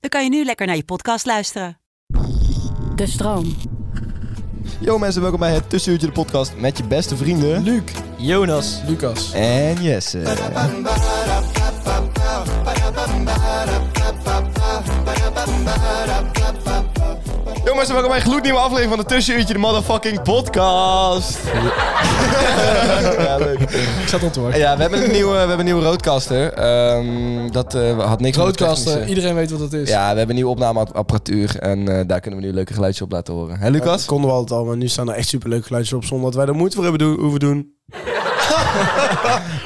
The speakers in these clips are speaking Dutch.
dan kan je nu lekker naar je podcast luisteren. De stroom. Yo mensen, welkom bij het Tussenuurtje de podcast met je beste vrienden... Luc, Jonas Lucas. en Jesse. Yo mensen, welkom bij een gloednieuwe aflevering van het Tussenuurtje de motherfucking podcast. ja, leuk. Ik zat op te wachten. Ja, we hebben een nieuwe, we hebben een nieuwe roadcaster. Ehm, dat eh, had niks met de Roadcasten, technische- iedereen weet wat dat is. Ja, we hebben een nieuwe opnameapparatuur en eh, daar kunnen we nu leuke geluidjes op laten horen. Hè Lucas? Dat konden we altijd al, maar nu staan er echt superleuke geluidjes op zonder dat wij er moeite voor hebben doen, hoeven doen.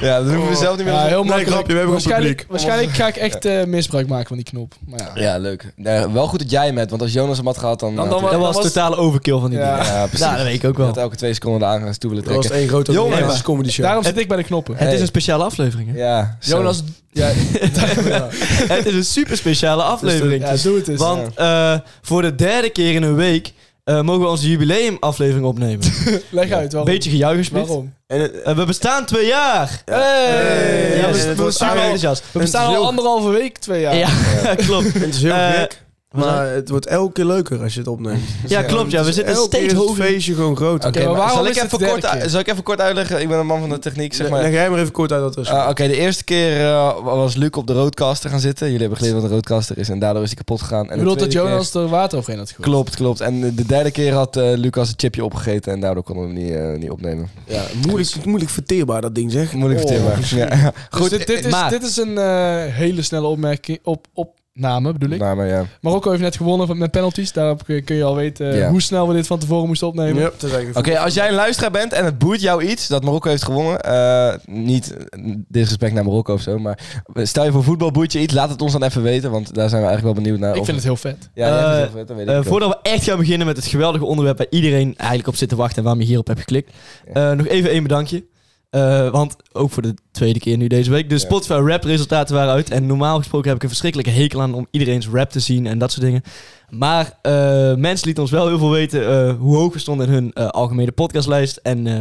Ja, dat hoeven we zelf niet meer Ja, te heel makkelijk. grapje, we hebben gewoon waarschijnlijk, publiek. waarschijnlijk ga ik echt eh, misbruik maken van die knop. Maar ja. Ja, leuk. Nee, wel goed dat jij met, want als Jonas hem had gehad, dan... had hij- Dat was totale overkill van die Ja. dingen. Ja, precies. Nou, dat weet ik ook wel. Dat elke twee seconden de aangaan toe willen Dat was trekken. één grote Jongens. romantische comedy show. Daarom zit ik bij de knoppen. Het Hey. is een speciale aflevering. Hè? Ja, zo. Jonas, ja, dus, Het is een super speciale Dus aflevering. ja, doe het eens. Want eh, voor de derde keer in een week eh, mogen we onze jubileumaflevering opnemen. leg uit. Waarom? Beetje gejuich gespeeld. Waarom? En het- Eh, we bestaan twee jaar. Hey! Ja, en we, het we was super eigenlijk- enthousiast. We bestaan al anderhalve week, twee jaar. Ja, klopt. het is heel Eh, gek, maar het wordt elke keer leuker als je het opneemt. Ja, klopt. Ja, we zitten elke keer steeds is het hoger. feestje gewoon groter. Oké, maar maar waarom zal, is ik het de even derde kort, uit- keer? zal ik even kort uitleggen? Ik ben een man van de techniek, zeg maar. Leg jij maar even kort uit wat er is. Ah, Oké, de eerste keer eh, was Luc op de roadcaster gaan zitten. Jullie hebben geleerd wat een roadcaster is en daardoor is hij kapot gegaan. En Je bedoelt de dat tweede Jonas er water overheen had keer- gegooid? Klopt, klopt. En de de derde keer had eh, Lucas het chipje opgegeten en daardoor konden we hem niet, eh, niet opnemen. ja, moeilijk, moeilijk verteerbaar dat ding zeg. Moeilijk Oh, vertellen. Ja. Goed, Goed, Dus dit, dit, is, maar- dit is een eh, hele snelle opmerking op, opname, bedoel ik. maar, maar ja. Marokko heeft net gewonnen van- met penalties. Daarop kun je- kun je al weten eh, Ja. hoe snel we dit van tevoren moesten opnemen. Ja, dat is eigenlijk Oké, als jij een luisteraar bent en het boeit jou iets dat Marokko heeft gewonnen, eh, niet eh, disrespect naar Marokko of zo, maar stel je voor voetbal boeit je iets, laat het ons dan even weten, want daar zijn we eigenlijk wel benieuwd naar. Ik of- vind het heel vet. Ja, jij Eh, vindt het heel vet, dat weet ik Eh, ook. voordat we echt gaan beginnen met het geweldige onderwerp waar iedereen eigenlijk op zit te wachten en waarom je hierop hebt geklikt. eh, nog even één bedankje. Eh, want ook voor de tweede keer nu deze week. De Ja. Spotify rap resultaten waren uit. En normaal gesproken heb ik een verschrikkelijke hekel aan om iedereen's rap te zien en dat soort dingen. Maar eh, mensen lieten ons wel heel veel weten eh, hoe hoog we stonden in hun eh, algemene podcastlijst. En eh,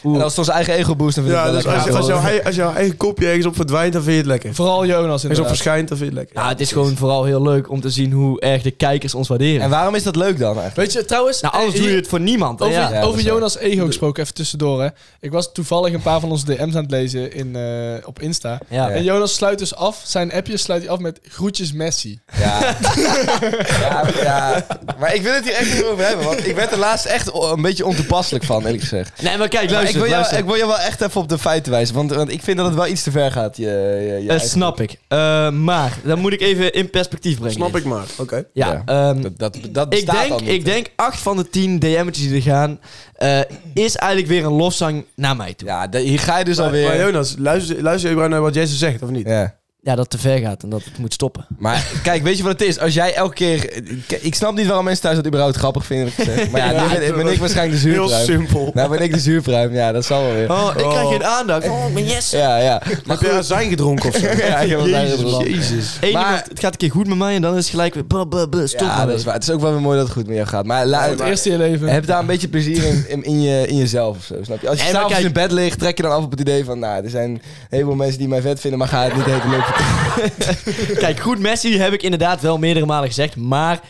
hoe... En als het onze eigen ego boost, dan vind ik Ja, het dus wel als, je, lekker. als, jouw, ei- als jouw eigen kopje ergens op verdwijnt, dan vind je het lekker. Vooral Jonas Ergens op inderdaad. verschijnt, dan vind je het lekker. Nou, het is gewoon vooral heel leuk om te zien hoe erg de kijkers ons waarderen. En waarom is dat leuk dan eigenlijk? Weet je, trouwens... nou, anders eh, doe je hier- het voor niemand. hè, Over, ja. Ja, dat over is waar. Jonas Ego gesproken, even tussendoor. Hè. Ik was toevallig een paar van onze DM's aan het lezen in, eh, op Insta. Ja. En Jonas sluit dus af, zijn appjes sluit hij af met groetjes Messi. Ja. ja, ja. Maar ik wil het hier echt niet over hebben, want ik werd er laatst echt o- een beetje ontoepasselijk van, eerlijk gezegd. Nee, maar kijk, Maar luister. ik, wil jou, luister. ik wil je wel echt even op de feiten wijzen, want, want ik vind dat het wel iets te ver gaat. Je, je, je Eh, eigen- snap ik. Eh, maar, dan moet ik even in perspectief brengen. Snap ik maar. Oké. Ja, ehm, Dat, dat, dat ik, bestaat al denk, niet. ik denk 8 van de 10 DM'tjes die er gaan, eh, is eigenlijk weer een lofzang naar mij toe. Ja, Ja, de- hier ga je dus Maar, alweer. maar Jonas, luister, luister je überhaupt naar wat Jesse zegt, of niet? ja. dat te ver gaat en dat het moet stoppen. Maar kijk, weet je wat het is? Als jij elke keer... Ik, ik snap niet waarom mensen thuis dat überhaupt grappig vinden. eerlijk gezegd. Maar ja, Ja, nu ben, ben ik waarschijnlijk de Heel zuurpruim. simpel. Nou ben ik de zuurpruim, ja, dat zal wel weer. Oh, ik krijg geen aandacht. Oh, ik ben yes. Ja, ja. Heb jij zijn gedronken of zo? Ja, ik heb wel bijna gedronken. Jezus. Eén Maar- iemand, het gaat een keer goed met mij en dan is het gelijk weer... buh, buh, buh, stop Ja, maar dat is weer. waar. Het is ook wel weer mooi dat het goed met jou gaat. Maar la- Het eerste in je leven. heb daar een beetje plezier in, in, in je, in jezelf of zo, snap je? Als je Nee, maar s'avonds kijk- in bed ligt, trek je dan af op het idee van... Nou, er zijn heel veel mensen die mij vet vinden, maar ga het niet helemaal leuk Kijk, goed Messi heb ik inderdaad wel meerdere malen gezegd. Maar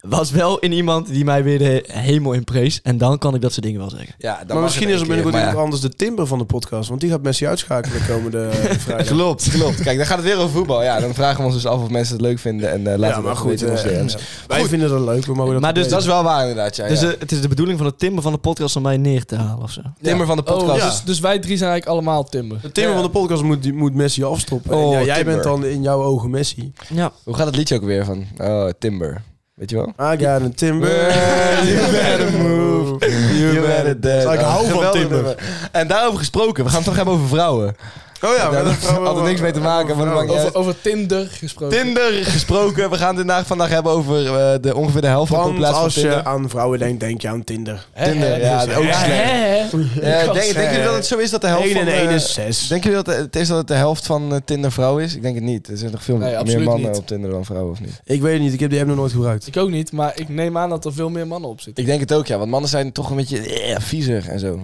was wel in iemand die mij weer de hemel in prees. En dan kan ik dat soort dingen wel zeggen. Ja, dan Maar mag misschien het is er één keer, binnenkort iemand maar anders de timber van de podcast. Want die gaat Messi uitschakelen komende eh, ja. vrijdag. Klopt, klopt. Kijk, dan gaat het weer over voetbal. Ja, dan vragen we ons dus af of mensen het leuk vinden. En eh, laten we maar dat goed, weten in onze eh, DM's. Wij Goed. vinden dat leuk. We mogen dat Maar dus Dus dat is wel waar inderdaad, ja. Dus ja. eh, het is de bedoeling van het timber van de podcast om mij neer te halen of zo. Timmer van de podcast. Oh, ja. dus, dus wij drie zijn eigenlijk allemaal Timber. de timber van de podcast moet, die moet Messi afstoppen. En Oh, ja, jij timber. bent dan in jouw ogen Messi. Ja. Hoe gaat het liedje ook weer van? Oh, Timber. Weet je wel? I got a timber. You better move. You better dance. Oh, Ik hou van Geweldig Timber. nummer. En daarover gesproken, we gaan het toch hebben over vrouwen. Oh ja, Daar maar heeft altijd niks mee te maken. Maar dat maakt niet uit. Over, over Tinder gesproken. Tinder gesproken. We gaan het vandaag, vandaag hebben over eh, de, ongeveer de helft van de Want plaats van als je Tinder. aan vrouwen denkt, denk je aan Tinder. Tinder, ja, dat is ook slecht. Eh, denk, Gast, denken jullie dat het zo is dat de helft 1 en van... 1 eh, is 6. Denken jullie dat het is dat het de helft van eh, Tinder vrouw is? Ik denk het niet. Er zijn nog veel Nee, meer absoluut mannen niet. op Tinder dan vrouwen, of niet? Ik weet het niet, ik heb die app nog nooit gebruikt. dus Ik ook niet, maar ik neem aan dat er veel meer mannen op zitten. Ik denk het ook, ja. Want mannen zijn toch een beetje eh, viezig en zo.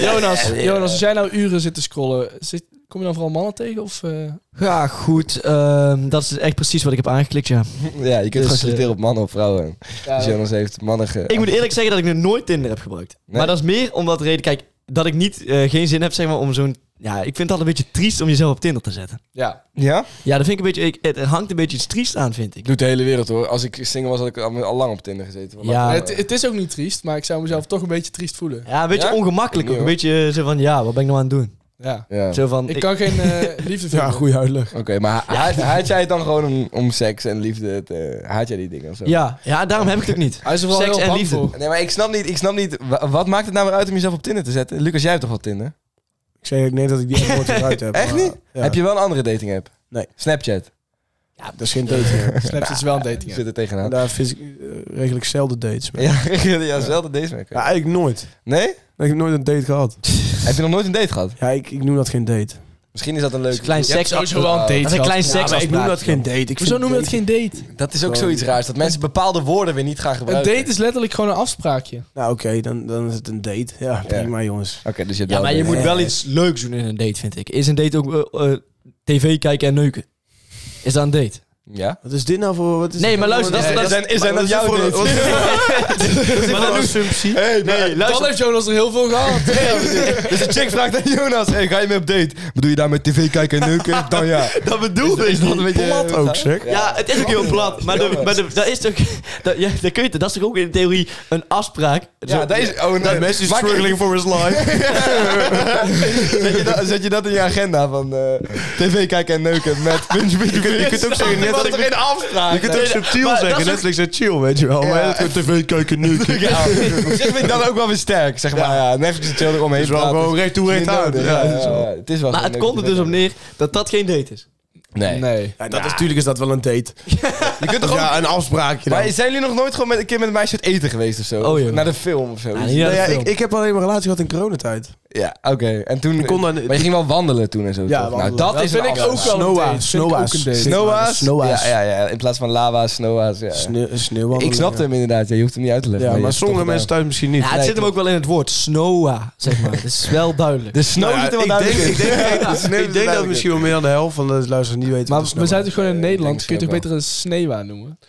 Jonas, Jonas, als jij nou uren zit te scrollen, zit, kom je dan vooral mannen tegen? Of, eh, Ja, goed. ehm, dat is echt precies wat ik heb aangeklikt, ja. ja, je kunt gewoon eh, selecteren op mannen of vrouwen. Dus Jonas heeft mannen ge... Ik moet eerlijk zeggen dat ik nog nooit Tinder heb gebruikt. Nee. Maar dat is meer omdat de reden... Kijk, dat ik niet, eh, geen zin heb zeg maar, om zo'n... Ja, ik vind het altijd een beetje triest om jezelf op Tinder te zetten. ja. Ja? Ja, dat vind ik een beetje... Ik, het hangt een beetje iets triest aan, vind ik. Ik doe de hele wereld hoor. Als ik single was, had ik al, al lang op Tinder gezeten. Want Ja. dat- het, het is ook niet triest, maar ik zou mezelf toch een beetje triest voelen. Ja, een beetje Ja? ongemakkelijk ook. Nee, Een hoor. beetje eh, zo van, ja, wat ben ik nou aan het doen? Ja. ja. Zo van, Ik ik- kan geen eh, liefde vinden. Ja, goede uitleg. Oké, maar ha- haat, haat jij het dan gewoon om, om seks en liefde? Te, haat jij die dingen of zo? ja, ja, daarom heb ik het ook niet. Hij is er wel Seks heel en bang liefde. voor. Nee, maar ik snap niet, ik snap niet. wa- Wat maakt het nou weer uit om jezelf op Tinder te zetten? Lucas, jij hebt toch wel Tinder? Ik zeg ik nee dat ik die app nooit gebruikt heb. Echt maar- niet? Ja. Heb je wel een andere dating app? Nee. Snapchat. Dat is geen dating. Snapchat is wel een dating app. Zit er tegenaan. Daar vind ik eh, redelijk zelden dates. mee. Ja, ja, zelden deze week. Ja, eigenlijk nooit. Nee? Ik heb nooit een date gehad. Heb je nog nooit een date gehad? Ja, ik, ik noem dat geen date. Misschien is dat een Dat is leuk. een klein Je hebt seks... sowieso wel Oh, een date Dat is een klein gehad. seks ik noem dat geen date. Ik Hoezo noem je dat dat geen date? Dat is ook zoiets raars. Dat mensen bepaalde woorden weer niet gaan Een gebruiken. date is letterlijk gewoon een afspraakje. Nou oké, dan, dan is het een date. Ja, prima jongens. Oké, dus je hebt Ja, wel maar een je date. moet wel iets leuks doen in een date, vind ik. Is een date ook eh, eh, tv kijken en neuken? Is dat een date? Ja? Wat is dit nou voor... Wat is Nee, maar luister, dat is- Is dat dat, is- zijn- is dat dat is jouw voor een- date? wat is Maar dat doet- assumptie. Hey, nee, Dan heeft Jonas er heel veel gehad. Dus de chick vraagt aan Jonas, hey, ga je mee op date? Bedoel je daarmee tv kijken en neuken? Dan ja. dat bedoelde ik dat een beetje- Plat ook zeg. Ja, het is ook heel plat. Maar, de, maar de, dat is toch... Dat, ja, dat, kun je, dat is toch ook in theorie een afspraak? Ja, Zo- dat is... Oh, nee. Messi is Maak- struggling for his life. zet, je dat, zet je dat in je agenda van eh, tv kijken en neuken met puntje, puntje, puntje. Je kunt ook zeggen, net dat als is ik- geen afspraak. Je kunt ook Nee, subtiel maar dat zeggen. is ook- Netflix en chill, weet je wel. Maar Ja. dat gewoon tv kijken nu. Het Ja, zeg vind ik dan ook wel weer sterk, zeg maar. Ja, Netflix en chill eromheen is wel praten. gewoon recht toe, Niet recht aan. nodig. Ja, Ja, dat is wel- ja, ja. Het is wel Maar gewoon het komt er leuk. dus op neer dat dat geen date is. Nee. Nee. Ja, dat is natuurlijk is dat wel een date. Je kunt toch ja, een afspraakje Maar zijn jullie nog nooit gewoon met een keer met een meisje uit eten geweest of zo? Oh, joh. Naar de film of zo? Ah, ja, Nou ja, dat ik, film. ik heb alleen maar een relatie gehad in coronatijd. Ja, oké. En toen... Ik kon dan- maar je ging wel wandelen toen en zo, toch? Nou, wandelen. dat, is vind een ik ook afspraak. wel een date. Vind ik ook een date. Snowa's? Snowa's. Ja, ja, ja. In plaats van lava's, snowa's. Ja. Sne- sneeuwwandelen, Ik snapte ja. hem inderdaad. Ja, je hoeft hem niet uit te leggen. Ja, je maar hebt het sommige toch mensen gedaan. thuis misschien niet. Ja, het zit hem ook wel in het woord. Snowa, zeg maar. Dat is wel duidelijk. De snow Nou ja, zit er wel ik denk, duidelijk ik in. denk, De sneeuw ik zit denk dat duidelijk misschien wel meer dan de helft van de luisteraars niet weten. Maar wat een we zijn sneeuwwand toch gewoon in Eh, Nederland? ik Kun je toch denk beter een sneeuwwaan noemen? in.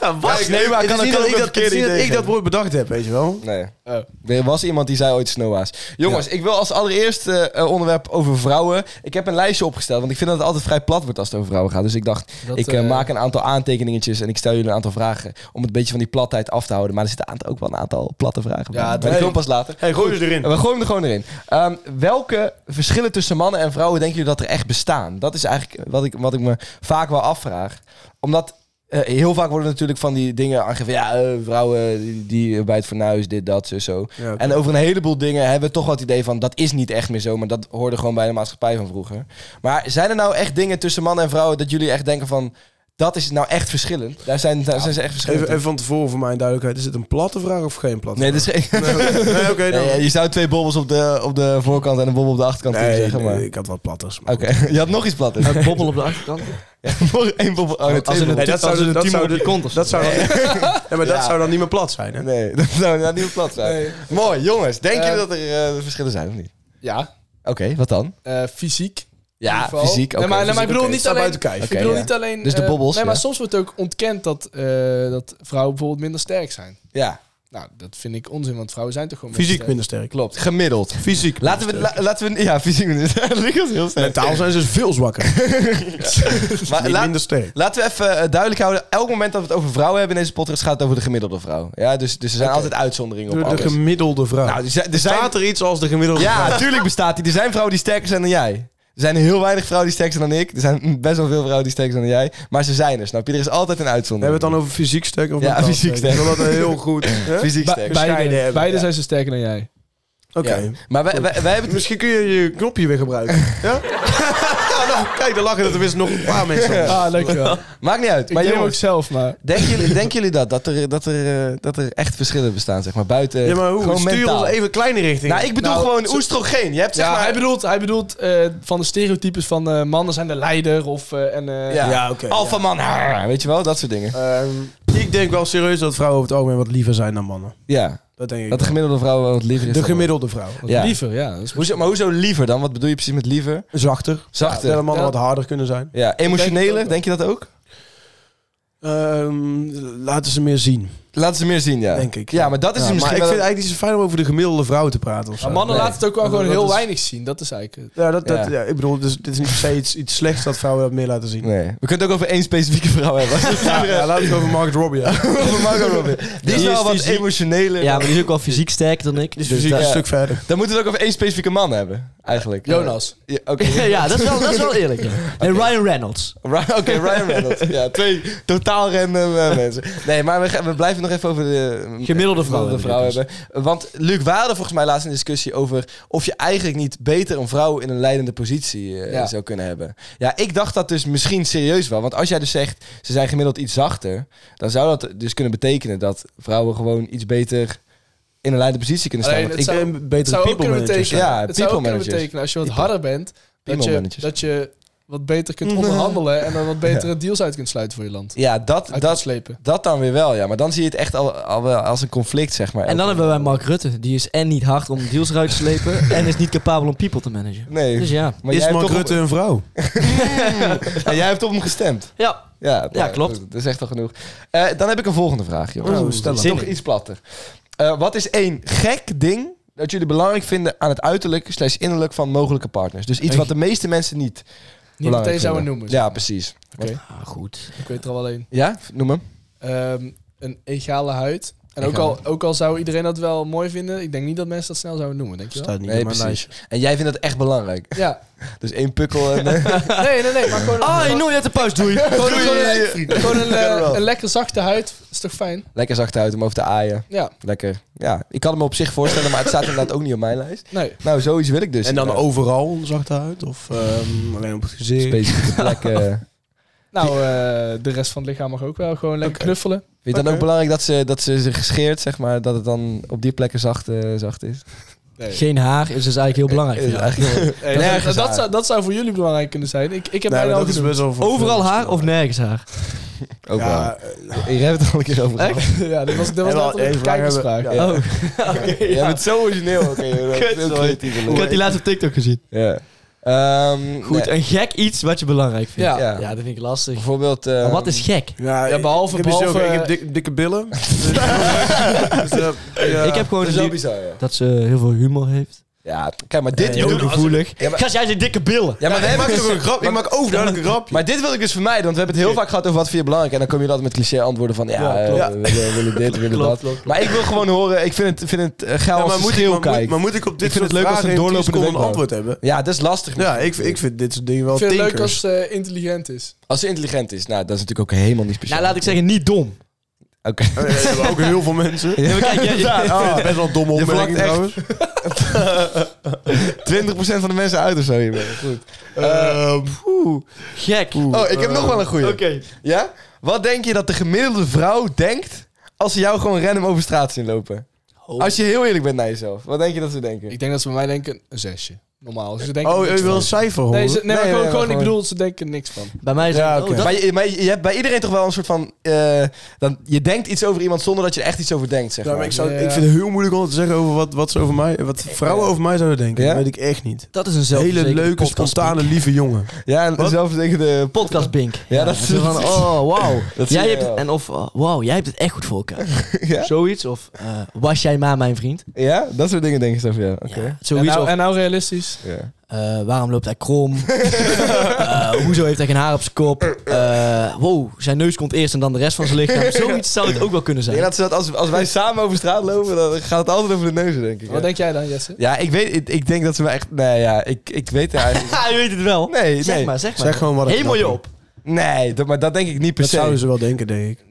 Ja, ik- nee, maar kan is. Het is ook niet dat een ik dat- het verkeerde is niet dat idee ik zijn. dat woord bedacht heb, weet je wel. Nee. Oh. Er was iemand die zei ooit snowa's. Jongens, ik wil als allereerst eh, eh, onderwerp over vrouwen. Ik heb een lijstje opgesteld, want ik vind dat het altijd vrij plat wordt als het over vrouwen gaat. Dus ik dacht, Dat, ik eh, eh, maak een aantal aantekeningetjes en ik stel jullie een aantal vragen om het een beetje van die platheid af te houden. Maar er zitten een aantal- ook wel een aantal platte vragen bij. Ja, Maar dat- die komen pas later. Hey, gooi ze erin. En we gooien hem er gewoon erin. Ehm, welke verschillen tussen mannen en vrouwen denken jullie dat er echt bestaan? Dat is eigenlijk wat ik, wat ik me vaak wel afvraag. Omdat eh, heel vaak worden natuurlijk van die dingen aangegeven. Ja, eh, vrouwen die, die bij het fornuis, dit, dat, zo, zo. Ja, oké. En over een heleboel dingen hebben we toch wat idee van... dat is niet echt meer zo, maar dat hoorde gewoon bij de maatschappij van vroeger. Maar zijn er nou echt dingen tussen mannen en vrouwen... dat jullie echt denken van... dat is nou echt verschillend? Daar zijn, daar zijn ze echt verschillend Even, in. even van tevoren voor mijn duidelijkheid. Is het een platte vraag of geen platte Nee, dat is geen- vraag? Nee, oké. nee, oké, dan- Nee, je zou twee bobbels op de, op de voorkant en een bobbel op de achterkant Nee, kunnen zeggen, nee, maar... ik had wat platters. maar Oké, je had nog iets plat. Een bobbel op de achterkant. Nog één bobbel. Oh, nee, Als twee in een, bobbels. dat dat zou als in de- een dat team zou op je de- kont of zo. Dat zou, ja, maar dat Ja. zou dan niet meer plat zijn, hè? Nee, dat zou inderdaad niet plat zijn. Mooi, jongens. Denken Eh, jullie dat er eh, verschillen zijn of niet? Ja. Oké, wat dan? Eh, fysiek. Ja, niveau. fysiek. Nee, oké, maar, nee, fysiek, maar ik bedoel oké. niet Staat alleen... buiten Ik kijf. Oké, bedoel ja. niet alleen... Dus de eh, bobbels, Nee, maar ja. soms wordt ook ontkend dat, eh, dat vrouwen bijvoorbeeld minder sterk zijn. Ja, Nou, dat vind ik onzin, want vrouwen zijn toch gewoon minder Fysiek sterk. minder sterk. klopt. Gemiddeld. Fysiek. Laten we, la- laten we... Ja, fysiek. Dat ligt ons heel sterk. Mentaal zijn ze veel zwakker. Maar Niet laat- minder sterk. Laten we even eh, duidelijk houden. Elk moment dat we het over vrouwen hebben in deze podcast gaat het over de gemiddelde vrouw. Ja, dus, dus er zijn altijd uitzonderingen op De, de alles. gemiddelde vrouw. Nou, er zijn- er zijn- Staat er iets als de gemiddelde Ja, vrouw? natuurlijk bestaat die. Er zijn vrouwen die sterker zijn dan jij. Er zijn heel weinig vrouwen die sterker zijn dan ik. Er zijn best wel veel vrouwen die sterker zijn dan jij. Maar ze zijn er, snap je? Er is altijd een We hebben uitzondering. het dan over fysiek sterk of Ja, mentaal fysiek sterk. Ik wil dat heel goed. hè? fysiek Ba- sterk. beide Bescheiden hebben, beide ja. zijn ze sterker dan jij. Oké. Ja. Maar wij, wij, wij hebben het... Misschien kun je je knopje weer gebruiken. ja? Ja, nou, kijk, dan lachen er tenminste nog een paar mensen. om. Ah, dankjewel. Maakt niet uit. ik Maar neem ook jongens, zelf, maar... denken jullie, denken jullie dat? Dat er, dat, er, eh, dat er echt verschillen bestaan, zeg maar? Buiten... Ja, maar hoe? Gewoon Stuur mentaal. ons even een kleine richting. Nou, ik bedoel Nou, gewoon zo- oestrogeen. Je hebt zeg Ja, maar... hij bedoelt, hij bedoelt eh, van de stereotypes van eh, mannen zijn de leider of... eh, en, eh, Ja, Ja, oké, Alpha man, haar, weet je wel? Dat soort dingen. Ehm, ik denk wel serieus dat vrouwen over het algemeen wat liever zijn dan mannen. Ja. Dat denk ik. Dat de gemiddelde vrouw wel wat liever is. de dan- gemiddelde vrouw. Ja. Liever, ja. dat is- Hoezo, maar hoezo liever dan? Wat bedoel je precies met liever? Zachter. Zachter. Terwijl mannen Ja. wat harder kunnen zijn. Ja, emotioneler, denk je dat ook? Ehm, laten ze meer zien, Laten ze meer zien, ja. denk ik. Ja, maar dat is Ja, het misschien maar ik wel- vind het eigenlijk niet zo fijn om over de gemiddelde vrouw te praten. Of zo. Maar mannen nee. laten het ook wel Dat- gewoon dat heel is- weinig zien. Dat is eigenlijk... Ja, dat, dat, Ja. ja. ik bedoel, dus, dit is niet per se iets, iets slechts dat vrouwen dat meer laten zien. Nee. We kunnen het ook over één specifieke vrouw hebben. Ja, ja, laten we het over Margaret Robbie hebben. Over Margot Robbie. Die is Die wel is wat fysiek- emotioneler. Ja, maar die is ook wel fysiek sterker dan ik. Die is dus fysiek daar- een stuk verder. Dan moeten we het ook over één specifieke man hebben, eigenlijk. Jonas. Ja, Oké, ja, dat is wel, dat is wel eerlijk. ja. En Ryan Reynolds. Ry- oké, Ryan Reynolds. Ja, twee totaal random eh, mensen. Nee, maar we, gaan- we blijven nog even over de... eh, Gemiddelde vrouw gemiddelde vrouw hebben we hebben. Want Luc, we hadden volgens mij laatst een discussie over... of je eigenlijk niet beter een vrouw in een leidende positie eh, Ja. zou kunnen hebben. Ja, ik dacht dat dus misschien serieus wel. Want als jij dus zegt, ze zijn gemiddeld iets zachter... dan zou dat dus kunnen betekenen dat vrouwen gewoon iets beter... in een leidende positie kunnen staan. Alleen, Want het ik- zou- ben Het betere zou ook people kunnen manager. betekenen, zijn. Ja, het zou ook kunnen people managers. betekenen als je wat People. harder bent, dat People je, managers. dat je wat beter kunt onderhandelen en dan wat betere deals uit kunt sluiten voor je land. Ja, dat, Uit kunt dat, slepen. dat dan weer wel, ja. Maar dan zie je het echt al, al wel als een conflict, zeg maar. En dan Elke- hebben wij Mark Rutte. Die is en niet hard om deals eruit te slepen. en is niet capabel om people te managen. Nee, Dus ja. maar is jij hebt Mark toch op- Rutte een vrouw? En jij hebt op hem gestemd. Ja. Ja, nou, klopt. Dat, dat is echt al genoeg. Eh, dan heb ik een volgende vraag, jongens. Oh, stel Toch iets platter. Eh, wat is één gek ding dat jullie belangrijk vinden aan het uiterlijk slash innerlijk van mogelijke partners? Dus iets wat de meeste mensen niet Niet belangrijk meteen zouden vinden. noemen. Ja, precies. Ah, goed. Ik weet er al wel één. Ja, noem hem. Ehm, een egale huid. En ook Egale. al, ook al zou iedereen dat wel mooi vinden, ik denk niet dat mensen dat snel zouden noemen, denk je wel? Staat niet Nee, in mijn precies. lijstje. En jij vindt dat echt belangrijk. Ja. Dus één pukkel en... eh, Nee, nee, nee, maar gewoon, Ah, je nooit uit de puist, doei. gewoon, doei, gewoon doei, een, Eh, gewoon een, eh, een lekker zachte huid. Is toch fijn? Lekker zacht uit om over te aaien. Ja. Lekker. Ja, ik kan hem op zich voorstellen, maar het staat inderdaad ook niet op mijn lijst. Nee. Nou, zoiets wil ik dus. En dan inderdaad. overal zacht uit? Of ehm, alleen op het gezicht? specifieke plekken. Nou, eh, de rest van het lichaam mag ook wel gewoon lekker knuffelen. Vind je het dan ook Oké. belangrijk dat ze, dat ze zich scheert, zeg maar, dat het dan op die plekken zacht, eh, zacht is? Geen haar is dus eigenlijk heel belangrijk. voor Is jou. eigenlijk heel- Nee, dat, Nergens dat, aan. zou, dat zou voor jullie belangrijk kunnen zijn. Ik, ik heb Nee, bijna maar al dat is genoemd. best wel voor- Overal haar of nergens haar? ook wel. Ja, Hier hebben we het al een keer over gehad. ja, dat was, dat was En wel letterlijk een één vraag hebben- Ja. kijkersvraag. Oh. Jij bent zo origineel. Oké, joh. Kut, Heel sorry. creatief, Ik had leuk. die laatst op TikTok gezien. Ja. Ehm, Goed, eh, nee, een gek iets wat je belangrijk vindt. Ja. Ja. dat vind ik lastig. Bijvoorbeeld... ehm, Maar wat is gek? ja, Ja, behalve- ik heb, behalve- ik heb dik- dikke billen. Dus- dus, eh, ja. Ik heb gewoon Dat een is wel lief- bizar, ja. dat ze heel veel humor heeft. Ja, kijk, maar dit... Heel gevoelig. Ja, maar- Gast, jij zijn dikke billen. Ja, maar, we ik hebben maak toch dus- een grap. Ik maak overduidelijk een grapje. maar dit wil ik dus vermijden, want we hebben het heel vaak gehad over wat vind je belangrijk. En dan kom je altijd met cliché antwoorden van, ja, Ja, eh, klopt. we willen, we willen dit, we willen Klopt, dat. klopt, klopt. Maar ik wil gewoon horen, ik vind het, vind het eh, geil Ja, als maar, ze moet ik, schreeuw maar, moet, kijkt. maar moet ik op dit Ik vind het soort leuk als vragen een in 10 doorlopende seconden een wenkbrauw. antwoord hebben? Ja, dat is lastig. Ja, ik, ik vind dit soort dingen wel Ik vind het leuk tinkers. als ze intelligent is. Als ze intelligent is, nou, dat is natuurlijk ook helemaal niet speciaal. Nou, laat ik zeggen, niet dom. Oké. Eh, maar ook heel veel mensen. Ja, maar kijk, jij- Ja, ik vind het best wel een domme Je opmerking vlakt echt- trouwens. 20% van de mensen uit of zo hiermee. Goed. Ehm, poeh. Gek. Oh, eh, ik heb nog wel een goeie. Ja? Wat denk je dat de gemiddelde vrouw denkt als ze jou gewoon random over Oh. straat zien lopen? Als je heel eerlijk bent naar jezelf. Wat denk je dat ze denken? Ik denk dat ze bij mij denken, een zesje. normaal. Ze denken Oh, niks je wil van. een cijfer horen? Nee, ze, nee, maar gewoon, nee, gewoon, ik gewoon- bedoel, ze denken niks van. Bij mij is Ja, het- oh, oké. dat- Maar, je, maar je hebt bij iedereen toch wel een soort van... eh, dan, je denkt iets over iemand zonder dat je er echt iets over denkt, zeg Ja, maar maar. ik, zou, Ja. ik vind het heel moeilijk om te zeggen over wat, wat, ze over mij, wat vrouwen over mij zouden denken. Ja? Dat weet ik echt niet. dat is een Hele zelfverzekerde leuke, podcastbink. spontane, lieve jongen. Ja, en zelf tegen de... Podcastbink. Ja, dat is- zo van, oh, wauw. Dat zie jij je hebt wel. en of, oh, wauw, jij hebt het echt goed voor elkaar. Ja? Zoiets. Of, eh, was jij maar mijn vriend? Ja, dat soort dingen denken ze over, ja. Oké. Ja, En zoiets. nou, of, en nou realistisch. Ja. eh, waarom loopt hij krom? Eh, hoezo heeft hij geen haar op zijn kop? Eh, wow, zijn neus komt eerst en dan de rest van zijn lichaam. Zoiets zou het ook wel kunnen Ik zijn. denk dat ze dat als, als wij samen over straat lopen, dan gaat het altijd over de neuzen, denk ik. Wat ja. denk jij dan, Jesse? Ja, ik weet, ik, ik denk dat ze me echt... Nee, ja, ik, ik weet het eigenlijk... Ja, je weet het wel. Nee, nee. zeg maar, zeg maar. Zeg gewoon wat ik Helemaal knap Job. Nee, dat, maar dat denk ik niet per Dat se. zouden ze wel denken, denk ik.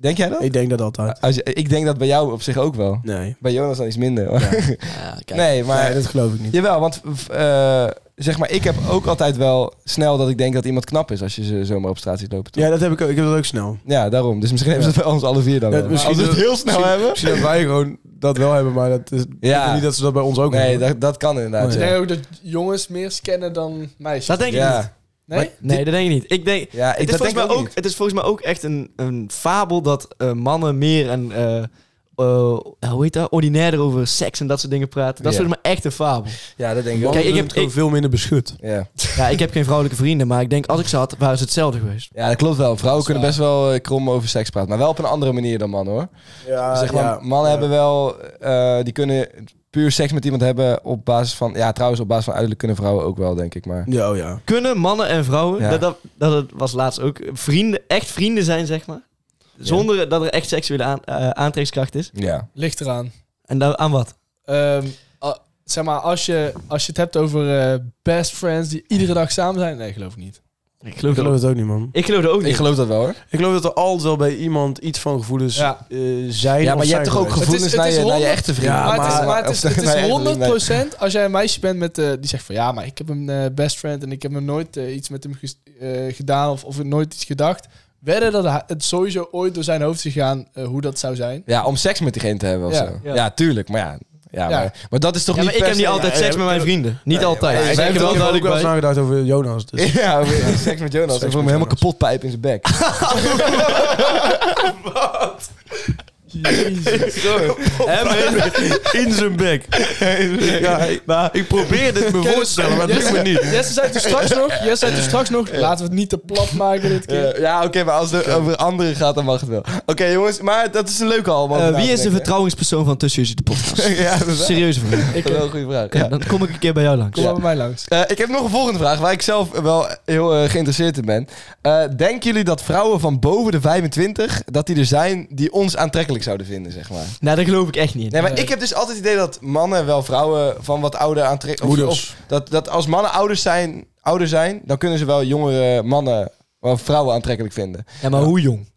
Denk jij dat? Nou, Ik denk dat altijd. Als je- ik denk dat bij jou op zich ook wel. Ah. Nee. Bij Jonas dan iets minder. Ja, Ah, kijk. nee, maar... Nee, dat geloof ik niet. Jawel, want eh, zeg maar, ik heb ook altijd wel snel dat ik denk dat iemand knap is als je ze zomaar op straat ziet lopen. toch? Ja, dat heb ik ook. Ik heb dat ook snel. Ja, daarom. Dus misschien hebben ze het bij ons alle vier dan. Ja, wel. Maar misschien als we het dat- heel snel misschien- hebben. Misschien dat wij gewoon dat wel hebben, maar dat is, ik Ja. denk niet dat ze dat bij ons ook Nee, hebben. dat, dat kan inderdaad. Ik ja. denk ook dat jongens meer scannen dan meisjes. Dat denk ik niet. Ja, Nee? Nee, dat denk ik niet. Ik denk, ja ik, het, is dat denk volgens mij ik ook ook, niet. het is volgens mij ook echt een, een fabel dat eh, mannen meer en eh, eh, hoe heet dat? Ordinair over seks en dat soort dingen praten. Dat is Ja. volgens mij echt een fabel. Ja, dat denk ik Mannen ook. Kijk, ik doen heb- het gewoon ik- veel minder beschut. Ja. Ja, ik heb geen vrouwelijke vrienden, maar ik denk als ik ze had, waren ze hetzelfde geweest. ja, dat klopt wel. Vrouwen Dat is kunnen best wel eh, krom over seks praten. Maar wel op een andere manier dan mannen hoor. Ah, Ja, zeg maar, mannen hebben wel... eh, die kunnen puur seks met iemand hebben op basis van... Ja, trouwens, op basis van uiterlijk kunnen vrouwen ook wel, denk ik. Maar Ja, oh ja. Kunnen mannen en vrouwen, Ja. dat, dat, dat het was laatst ook, vrienden, echt vrienden zijn, zeg maar. Zonder dat er echt seksuele aan- eh, aantrekkingskracht is. ja. Ligt eraan. En dan, aan wat? Ehm, a- zeg maar, als je, als je het hebt over eh, best friends die iedere dag samen zijn. Nee, geloof ik niet. Ik Ik geloof, geloof het ook niet, man. ik geloof er ook niet. Ik geloof dat wel hoor. Ik geloof dat er altijd wel bij iemand iets van gevoelens Ja. eh, zijn Ja, of maar je hebt toch zijn ook geweest. Het gevoelens is- het naar, is je, naar je honderd- echte vrienden? Ja, maar, het is, maar- maar het is, het is Nee, nee. 100% als jij een meisje bent met, eh, die zegt van ja, maar ik heb een eh, best friend en ik heb nog nooit eh, iets met hem ges- eh, gedaan of, of nooit iets gedacht. Wedden dat hij- het sowieso ooit door zijn hoofd is gegaan eh, hoe dat zou zijn. Ja, om seks met diegene te hebben of Ja. zo. Ja. Ja. tuurlijk. Maar ja, ja, Ja. Maar, maar dat is toch Ja, niet maar ik per heb niet se- altijd Ja, seks met mijn vrienden. Niet altijd. maar- Ik Ik Wij ben heb er hebben wel wel duidelijk eens bij. nagedacht over Jonas. Dus. Ja, over- seks met Jonas. Ik met voel me helemaal Jonas. kapot pijp in zijn bek. In zijn bek. ja, ik, maar ik probeer dit me voor te stellen, maar het lukt me niet. Jesse zei toen straks nog, Jesse zei toen straks nog, laten we het niet te plat maken dit keer. Eh, ja, oké, maar als het over anderen gaat, dan mag het wel. Oké, jongens, maar dat is een leuke allemaal. Eh, wie is de vertrouwenspersoon van Tussen Jullie de Podcast? Ja, dat is Serieuze vraag. dat is wel een goede vraag. Ja, Ja. dan kom ik een keer bij jou langs. Kom maar bij mij langs. Eh, ik heb nog een volgende vraag waar ik zelf wel heel eh, geïnteresseerd in ben. Eh, denken jullie dat vrouwen van boven de 25, dat die er zijn die ons aantrekkelijk zouden vinden, zeg maar? Nou, daar geloof ik echt niet in. Nee, maar ik heb dus altijd het idee dat mannen wel vrouwen van wat ouder aantrekken. Of, Moeders. of dat, dat als mannen ouders zijn, ouder zijn, dan kunnen ze wel jongere mannen of vrouwen aantrekkelijk vinden. Ja, maar hoe jong?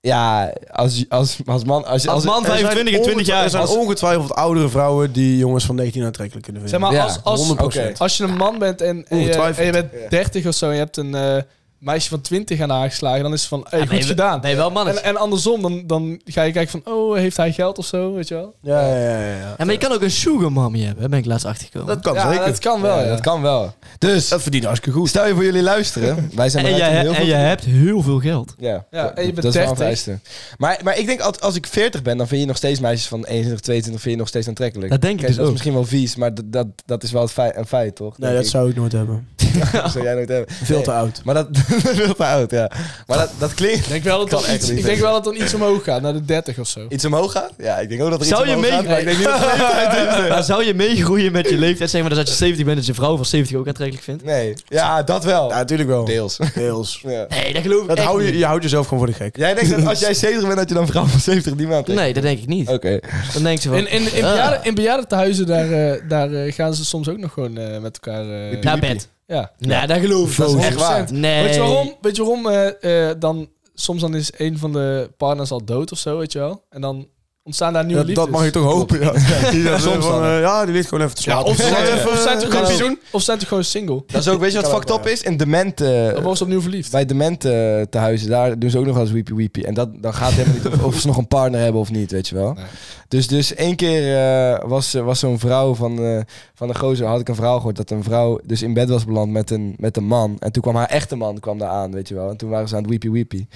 Ja, als, als, als man... Als, Als man Er zijn 25 en 20 ongetwijfeld- jaar. Er Als- zijn ongetwijfeld oudere vrouwen die jongens van 19 aantrekkelijk kunnen Zeg vinden. maar, Ja, als, als, 100%. Oké. als je een man bent en, en, je, Ongetwijfeld. en je bent 30 of zo en je hebt een eh, meisje van 20 aan haar geslagen, dan is het van, hey, goed gedaan. Nee, wel mannen. En, en andersom, dan, dan ga je kijken van, oh, heeft hij geld of zo, weet je wel? Ja, ja, ja. ja, ja. Ja, maar je kan ook een sugar mommy hebben, hè, ben ik laatst achtergekomen. Dat kan ja, zeker. dat kan wel, ja. Dat kan wel. Dus, Dat verdient hartstikke goed. stel je voor jullie luisteren. Wij zijn en bereid jij, om heel en veel te jij doen. hebt heel veel geld. Ja, Ja, dat- en je bent dat is wel een 30. vereiste. Maar, maar ik denk, als, als ik 40 ben, dan vind je nog steeds meisjes van 21, 22, vind je nog steeds aantrekkelijk. Dat denk ik Kijk, dus dat is ook. misschien wel vies, maar dat, dat, dat is wel het feit, een feit, toch? Nee, Denk dat zou ik nooit hebben. ik. Dat zou jij nooit hebben. Veel te oud. Maar dat... Veel te oud, ja. Maar dat, dat klinkt... Ik denk wel dat, Kan dan echt iets, niet ik denk wel dat dan iets omhoog gaat, naar de 30 of zo. iets omhoog gaat? Ja, ik denk ook dat er Zou iets je omhoog gaat, maar ik denk niet dat het leeftijd is. Maar zou je meegroeien met je leeftijd? Zeg maar dus dat je 70 bent, dat je een vrouw van 70 ook aantrekkelijk vindt? Nee. Ja, dat wel. Ja, natuurlijk wel. Deels. Deels. Ja. Nee, dat geloof ik Dat echt hou je, niet. je houdt jezelf gewoon voor de gek. Jij denkt dat als jij 70 bent, dat je dan vrouw van 70 niet meer aantrekt? Nee, dat denk ik niet. Oké. Dan denk je van... In, in, in, ah, bejaarden, in bejaardentehuizen, daar, eh, daar eh, gaan ze soms ook nog gewoon eh, met elkaar... eh, Naar bed. ja. Nou, dat geloof ik Dat is niet. echt waar. Nee. Weet je waarom? Weet je waarom eh, eh, dan soms dan is een van de partners al dood of zo, weet je wel? En dan ontstaan daar nieuwe Dat, liefdes. dat mag je toch hopen. Ja, die, dat Soms van, dan, hè. eh, ja, die ligt gewoon even te ja, slapen. of, ze zijn, Ja, of ze zijn toch Kan gewoon, ook. of ze zijn toch gewoon single. Dat is ook, weet je wat Kan fucked ook, up ja. is? In dement, eh, Dan worden ze opnieuw verliefd. bij dement eh tehuizen, daar doen ze ook nog wel eens weepie weepie. En dat, dan gaat het helemaal niet of, of ze nog een partner hebben of niet, weet je wel. Nee. Dus, dus één keer eh, was, was zo'n vrouw van, eh, van een gozer, had ik een vrouw gehoord, dat een vrouw dus in bed was beland met een, met een man. En toen kwam haar echte man kwam daar aan, weet je wel. En toen waren ze aan het weepie weepie.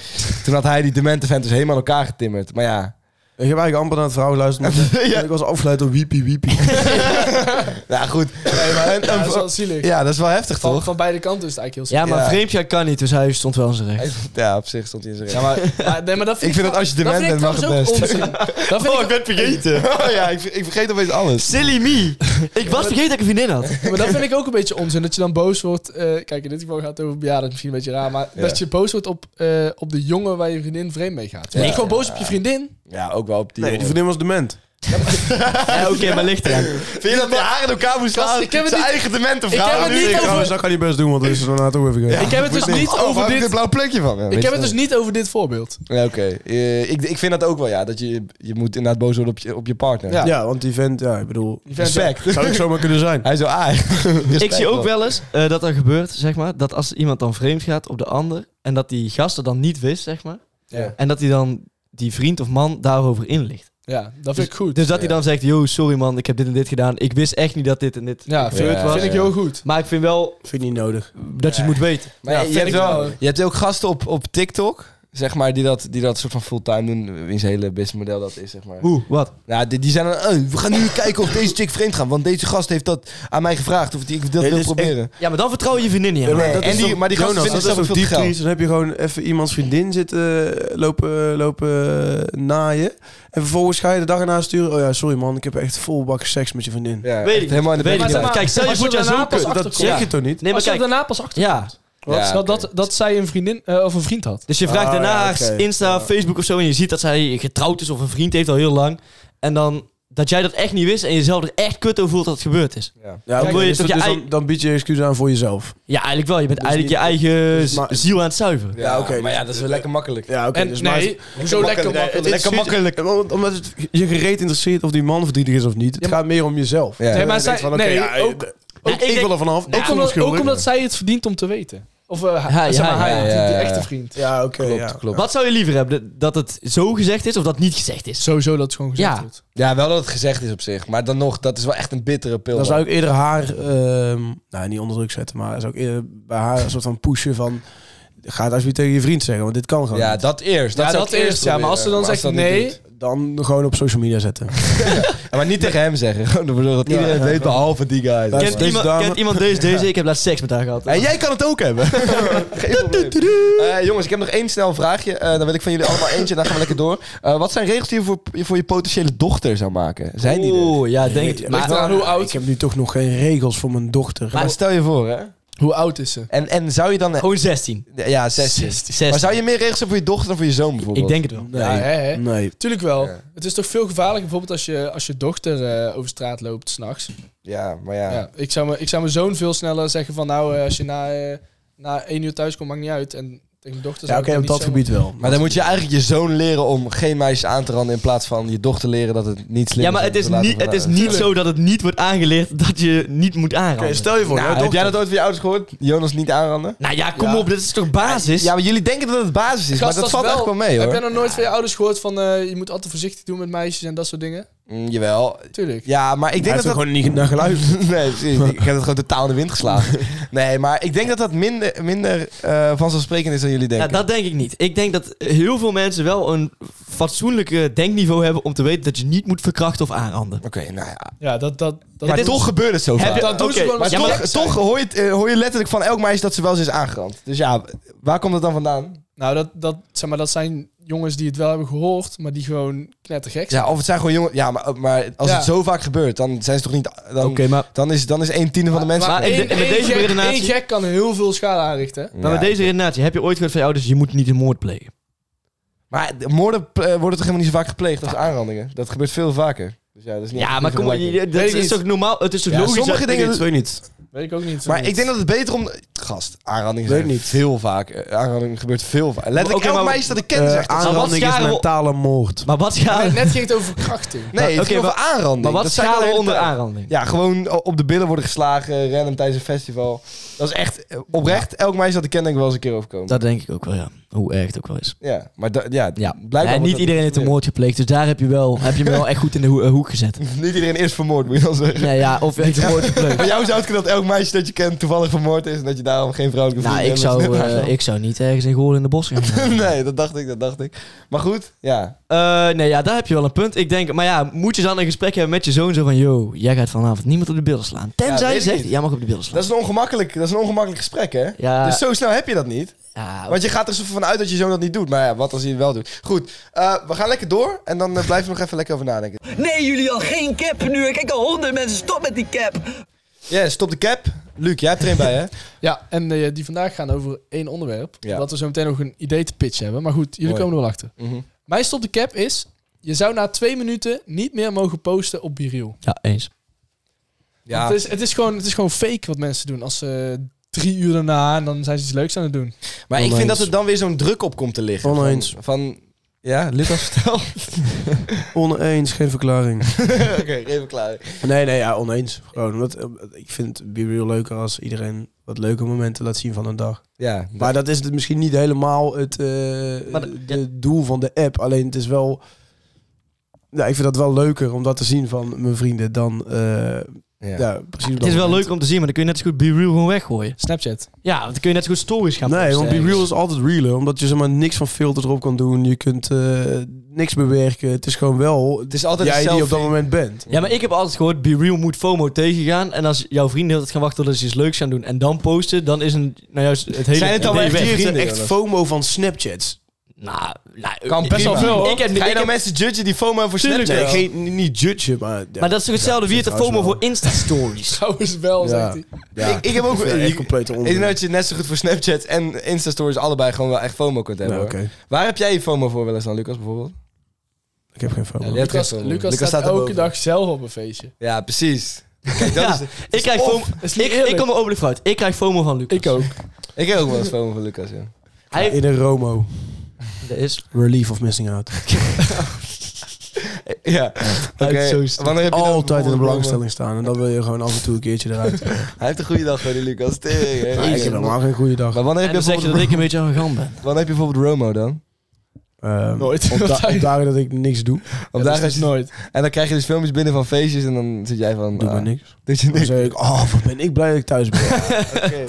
toen had hij die demente vent dus helemaal aan elkaar getimmerd. Maar ja, Ik heb eigenlijk amper naar het vrouw geluisterd. maar Ja. Ik was afgeleid door wiepie wiepie. nou goed. Nee, maar een- Ja, dat een is vrou- wel zielig. ja, dat is wel heftig van, toch? van beide kanten is het eigenlijk heel Ja, maar Ja. vreemdje kan niet, dus hij stond wel in zijn recht. Ja, op zich stond hij in zijn recht. zielig. Ja, nee, maar dat Ik vind dat als je dement vind ik bent, mag het trouwens best. ook onzin. Dat vind Oh, ik, ben vergeten. Oh ja, ik, ik vergeet opeens alles. Silly me! Ik was vergeten dat ik een vriendin had. maar dat vind ik ook een beetje onzin. Dat je dan boos wordt. eh, kijk, in dit geval gaat het over bejaarden. Misschien een beetje raar. Maar Ja. dat je boos wordt op, eh, op de jongen waar je vriendin vreemd mee gaat. Je bent gewoon boos op je vriendin. Ja, ook wel op die. Nee, die vriendin was dement. Ja, oké, maar ligt eraan. Vind je dat die haar in elkaar moest Gast, slaan? ik heb het Zijn niet- eigen demente heb vrouw. het nu. niet Ik- over- Trouwens, dat kan hij best doen, want dat is er daarna toch even gegaan. ik heb het dus niet Oh, waar over heb ik dit... dit blauw plekje van. Ja, weet Ik je heb het wel. dus niet over dit voorbeeld. Ja, oké. Eh, ik, ik vind dat ook wel, ja. Dat je, je moet inderdaad boos worden op je, op je partner. Ja. Ja, want die vent, ja, ik bedoel... Respect. Zou ik zomaar kunnen zijn. Hij is zo aai. Ik zie ook wel eens eh, dat er gebeurt, zeg maar, dat als iemand dan vreemd gaat op de ander en dat die gast het dan niet wist, zeg maar, Ja. en dat hij dan die vriend of man daarover inlicht. Ja, dat vind ik goed. Dus dat hij dan zegt, yo, sorry man, ik heb dit en dit gedaan, ik wist echt niet dat dit en dit ja, vind, gebeurd ja, was. vind ik heel goed. Maar ik vind wel Vind ik niet nodig. dat je het moet weten. Maar Ja, je, vind hebt ik wel, wel. je hebt ook gasten op, op TikTok, zeg maar, die dat, die dat soort van fulltime doen. Wiens hele businessmodel dat is, zeg maar. Hoe, wat? Ja, die, die zijn dan, eh, we gaan nu kijken of deze chick vreemd gaat. Want deze gast heeft dat aan mij gevraagd. Of die, ik dat dit wil is echt- proberen. Ja, maar dan vertrouw je je vriendin niet aan. maar dat is toch- Jonas, dat dat is is toch toch diep veel geld? triest. Dan heb je gewoon even iemands vriendin zitten eh, lopen, lopen eh, naaien. En vervolgens ga je de dag erna sturen. Oh ja, sorry man, ik heb echt vol bak seks met je vriendin. Ja, Weet echt ik, helemaal in de weet ik bek. niet. Ja. Kijk, stel je Als voor je jij daarna zo pas kunt. achterkomt. Dat zeg je toch niet? Nee, maar Als je er kijk, daarna pas achter ja. Wat? Ja, dat, oké. dat, dat zij een vriendin eh, of een vriend had. Dus je vraagt Ah, daarna ja, haar oké. Insta, Ja. Facebook of zo en je ziet dat zij getrouwd is of een vriend heeft al heel lang. En dan dat jij dat echt niet wist en jezelf er echt kut over voelt dat het gebeurd is. Ja, Dan wil je dus toch dat- je dus ei- dan, dan bied je excuus aan voor jezelf. Ja, eigenlijk wel. Je bent Dus eigenlijk niet- je eigen dus maar- z- ziel aan het zuiveren. Ja, oké, Maar dus- ja, dat is wel lekker makkelijk. Ja, oké. En dus maar- nee, zo lekker makkelijk. Het interesseert- Om- Omdat het je gereed interesseert of die man verdrietig is of niet. Het Ja, maar- gaat meer om jezelf. Ja. Nee, En maar dan zij, denk je van, oké, nee, ja, ook, eh, Nou, ik, ik denk- wil er vanaf. ook, ik voel me omdat, ook schuldig. omdat zij het verdient om te weten. Of eh, Ja, zeg maar, ja, hij, ja, die- ja, die ja. echte vriend. Ja, oké. Klopt, ja. klopt. Wat zou je liever hebben? Dat het zo gezegd is of dat niet gezegd is? Sowieso dat het gewoon gezegd Ja. wordt. Ja, wel dat het gezegd is op zich. Maar dan nog, dat is wel echt een bittere pil. Dan zou ik eerder haar, ehm, nou niet onder druk zetten, maar zou ik eerder bij haar een soort van pushen van, ga het alsjeblieft tegen je vriend zeggen, want dit kan gewoon. ja, niet. dat eerst. Dat ja, zou dat ik eerst, eerst, ja. Maar als ze proberen. dan zegt dat niet nee... doet. Dan gewoon op social media zetten. Ja, maar niet tegen hem zeggen. Gewoon ervoor zorgen dat Ja, iedereen het ja, weet, ja. behalve die guy. Kent- Kent Deze iemand, dame- kent iemand deze, deze? Ik heb laatst seks met haar gehad. En jij kan het ook hebben. Geen probleem. Eh, jongens, ik heb nog één snel vraagje. Eh, dan wil ik van jullie allemaal eentje en dan gaan we lekker door. Eh, wat zijn regels die je voor, voor je potentiële dochter zou maken? Zijn die er? Oeh, ja, denk Nee, ik. ligt Maar, eraan hoe oud. Ik heb nu toch nog geen regels voor mijn dochter. Maar stel je voor, hè? Hoe oud is ze? En, en zou je dan... gewoon 16. Ja, 16. 16. Maar zou je meer regels hebben voor je dochter dan voor je zoon bijvoorbeeld? Ik denk het wel. nee. Ja, hè, hè? Mm. nee. Tuurlijk wel. Het is toch veel gevaarlijker bijvoorbeeld als je, als je dochter eh, over straat loopt s'nachts. Ja, maar ja. Ja. ik, zou me- ik zou mijn zoon veel sneller zeggen van nou, eh, als je na, eh, na één uur thuis komt, maakt niet uit. En tegen mijn dochter Ja, zou oké, ik dan op dat niet zomaar- gebied wel. Maar dan moet je eigenlijk je zoon leren om geen meisjes aan te randen... in plaats van je dochter leren dat het niet slim Ja, maar om het te is, laten niet, het is verlaten. niet zo dat het niet wordt aangeleerd dat je niet moet aanranden. Oké, stel je voor, Nou, jouw heb dochter- jij dat ooit van je ouders gehoord? Jonas niet aanranden? Nou ja, kom Ja. op, dit is toch basis? Ja, maar jullie denken dat het basis is, Gast, maar dat valt is echt wel mee, Heb hoor. jij nog nooit van je ouders gehoord van eh, je moet altijd voorzichtig doen met meisjes en dat soort dingen? Mm, jawel. Tuurlijk. Ja, maar ik denk Hij dat heeft er dat... gewoon niet naar geluisterd. nee, precies. Ik heb het gewoon totaal in de wind geslagen. nee, maar ik denk dat dat minder, minder eh, vanzelfsprekend is dan jullie Ja, denken. dat denk ik niet. Ik denk dat heel veel mensen wel een fatsoenlijke denkniveau hebben om te weten dat je niet moet verkrachten of aanranden. Oké, nou ja. Ja, dat... dat, dat Maar toch gebeurt het zo vaak. je- dat doen ze Oké, gewoon Maar als ja, toch, gek zijn. toch hoor, je het, eh, hoor je letterlijk van elk meisje dat ze wel eens is aangerand. Dus ja, waar komt dat dan vandaan? Nou, dat, dat, zeg maar, dat zijn jongens die het wel hebben gehoord, maar die gewoon knettergek zijn. Ja, of het zijn gewoon jongen... Ja, maar, eh, maar als Ja. het zo vaak gebeurt, dan zijn ze toch niet... Dan, Oké, maar, dan, is, dan is een tiende van de mensen... maar ik Eén- denk- met één deze gek, redenatie- één gek kan heel veel schade aanrichten. hè? maar met Ja. deze redenatie, heb je ooit gehoord van je ouders, je moet niet een moord plegen? Maar de moorden eh, worden toch helemaal niet zo vaak gepleegd als aanrandingen? Dat gebeurt veel vaker. Dus ja, dat is niet Ja, niet maar kom, vergelijkbaar. je- dat Weet ik is niet. toch normaal, het is toch Ja, logisch? sommige dat- dingen- weet niet. Weet ik ook niet. Maar ik denk dat het beter om... Gast, aanrandingen Weet zijn niet. veel vaak. eh, Aanrandingen gebeurt veel vaak. Letterlijk Oké, elk maar- eh, meisje dat ik ken zegt... dat ze- aan- aanranding is scharen we- mentale moord. Maar wat Nee, schalen, net ging het over verkrachting. Nee, het Oké, ging maar- over aanranding. maar wat Dat zei ik al schalen we de onder hele tijd. aanranding? Ja, gewoon o- op de billen worden geslagen, random tijdens een festival. Dat is echt eh, oprecht. Elk meisje dat ik ken, denk ik wel eens een keer overkomen. Dat denk ik ook wel, ja. Hoe erg het ook wel is. Ja, maar da- ja, Ja, blijkbaar en wordt niet dat- iedereen heeft een moord gepleegd, dus daar heb je, wel, heb je me wel echt goed in de hoe- eh, hoek gezet. Niet iedereen is vermoord, moet je dan zeggen. Nee, ja, of heeft een moord gepleegd. Bij jou zou het kunnen dat elk meisje dat je kent toevallig vermoord is en dat je daarom geen vrouwelijke Nou, ik vrienden zou, hebt. eh, ik zou niet ergens in Goorlen in de bos gaan. nee, dat dacht ik, dat dacht ik. Maar goed, ja. Eh, nee, ja, daar heb je wel een punt. Ik denk, maar ja, moet je dan een gesprek hebben met je zoon zo van... Yo, jij gaat vanavond niemand op de beelden slaan. Ja, Tenzij weet je ik zegt, niet. jij mag op de beelden slaan. Dat is een ongemakkelijk, dat is een ongemakkelijk gesprek, hè? Ja. Dus zo snel heb je dat niet. Ja, Want je gaat er zo van uit dat je zoon dat niet doet. Maar ja, wat als hij het wel doet? Goed, eh, we gaan lekker door en dan eh, blijven we nog even lekker over nadenken. Nee, jullie al geen cap nu. Ik kijk al honderd mensen. Stop met die cap. Ja, stop de cap. Luc, jij hebt er een bij, hè? Ja, en eh, die vandaag gaan over één onderwerp. Ja. Omdat we zo meteen nog een idee te pitchen hebben. Maar goed, jullie Mooi. komen er wel achter. Mhm. Mijn stop de cap is... Je zou na twee minuten niet meer mogen posten op Biriel. ja eens. Want Dus- Het, is, het, is gewoon, het is gewoon fake wat mensen doen. Als ze drie uur daarna en dan zijn ze iets leuks aan het doen. Maar ik vind Oneens. dat er dan weer zo'n druk op komt te liggen. Oneens. Van, van ja, Lucas, vertel. Oneens, geen verklaring. Oké, even klaar. nee, nee, ja, oneens. Gewoon, omdat, eh, ik vind Be Real leuker als iedereen wat leuke momenten laat zien van een dag. Ja, Maar dat is het misschien niet helemaal het eh, de doel van de app. Alleen het is wel... Nou, ik vind dat wel leuker om dat te zien van mijn vrienden dan... eh, ja. ja, precies op Het dat is wel moment. leuk om te zien, maar dan kun je net zo goed Be Real gewoon weggooien. Snapchat. Ja, want dan kun je net zo goed stories gaan Nee, posten want Be ergens. Real is altijd realer. Omdat je zeg maar niks van filters erop kan doen. Je kunt eh, niks bewerken. Het is gewoon wel Het is altijd jij die hetzelfde. op dat moment bent. Ja, maar ik heb altijd gehoord, Be Real moet FOMO tegengaan. En als jouw vrienden altijd gaan wachten tot ze iets leuks gaan doen en dan posten, dan is een, nou juist het hele... Zijn het dan nee, wel echt weg. die- Hier is vrienden, echt Jonas. FOMO van Snapchats. Nou, nou, Kan ik- best wel ik- veel, hoor. Ik heb, Ga je ik nou heb- mensen judgen die FOMO voor Tuurlijk Snapchat? Nee, wel. geen, niet- niet judgen, maar... ja. maar dat is toch hetzelfde, wie heeft de trouwens FOMO wel. voor Insta-stories? Trouwens wel, Ja. zegt hij. Ja. Ik, ik heb ook... vind het echt compleet Ik nou, denk onzin. dat je net zo goed voor Snapchat en Insta-stories allebei gewoon wel echt FOMO kunt hebben. Nou, hoor. oké. Waar heb jij je FOMO voor wel eens dan, Lucas, bijvoorbeeld? Ik heb geen FOMO. Ja, hebt Lucas, geen FOMO. Lucas, Lucas staat, staat elke erboven. dag zelf op een feestje. Ja, precies. Kijk, dat Ja, is, ik krijg of- FOMO... dat is niet Ik, ik eerlijk. kom er openlijk fout. Ik krijg FOMO van Lucas. Ik ook. ik heb ook wel eens FOMO voor Lucas, ja. Hij heeft- In een Romo. dat is... Relief of missing out. Ja, oké. is zo stom. Wanneer heb je dan Altijd in de bijvoorbeeld belangstelling staan. En dan wil je gewoon af en toe een keertje eruit. FOMO? Hij heeft een goede dag voor die Lucas. Tering, hè. Ja, ik heb helemaal geen goede dag. Maar wanneer En heb, je dan zeg je dat bijvoorbeeld, ik een beetje arrogant ben. wanneer heb je bijvoorbeeld Romo dan? Ehm, Nooit. Op, da- op dagen dat ik niks doe, Op Ja, dat dagen is dat je- nooit. en dan krijg je dus filmpjes binnen van feestjes en dan zit jij van... doe ik ah, maar niks. Doet je Dan niks. zeg ik, oh, wat ben ik blij dat ik thuis ben. Oké.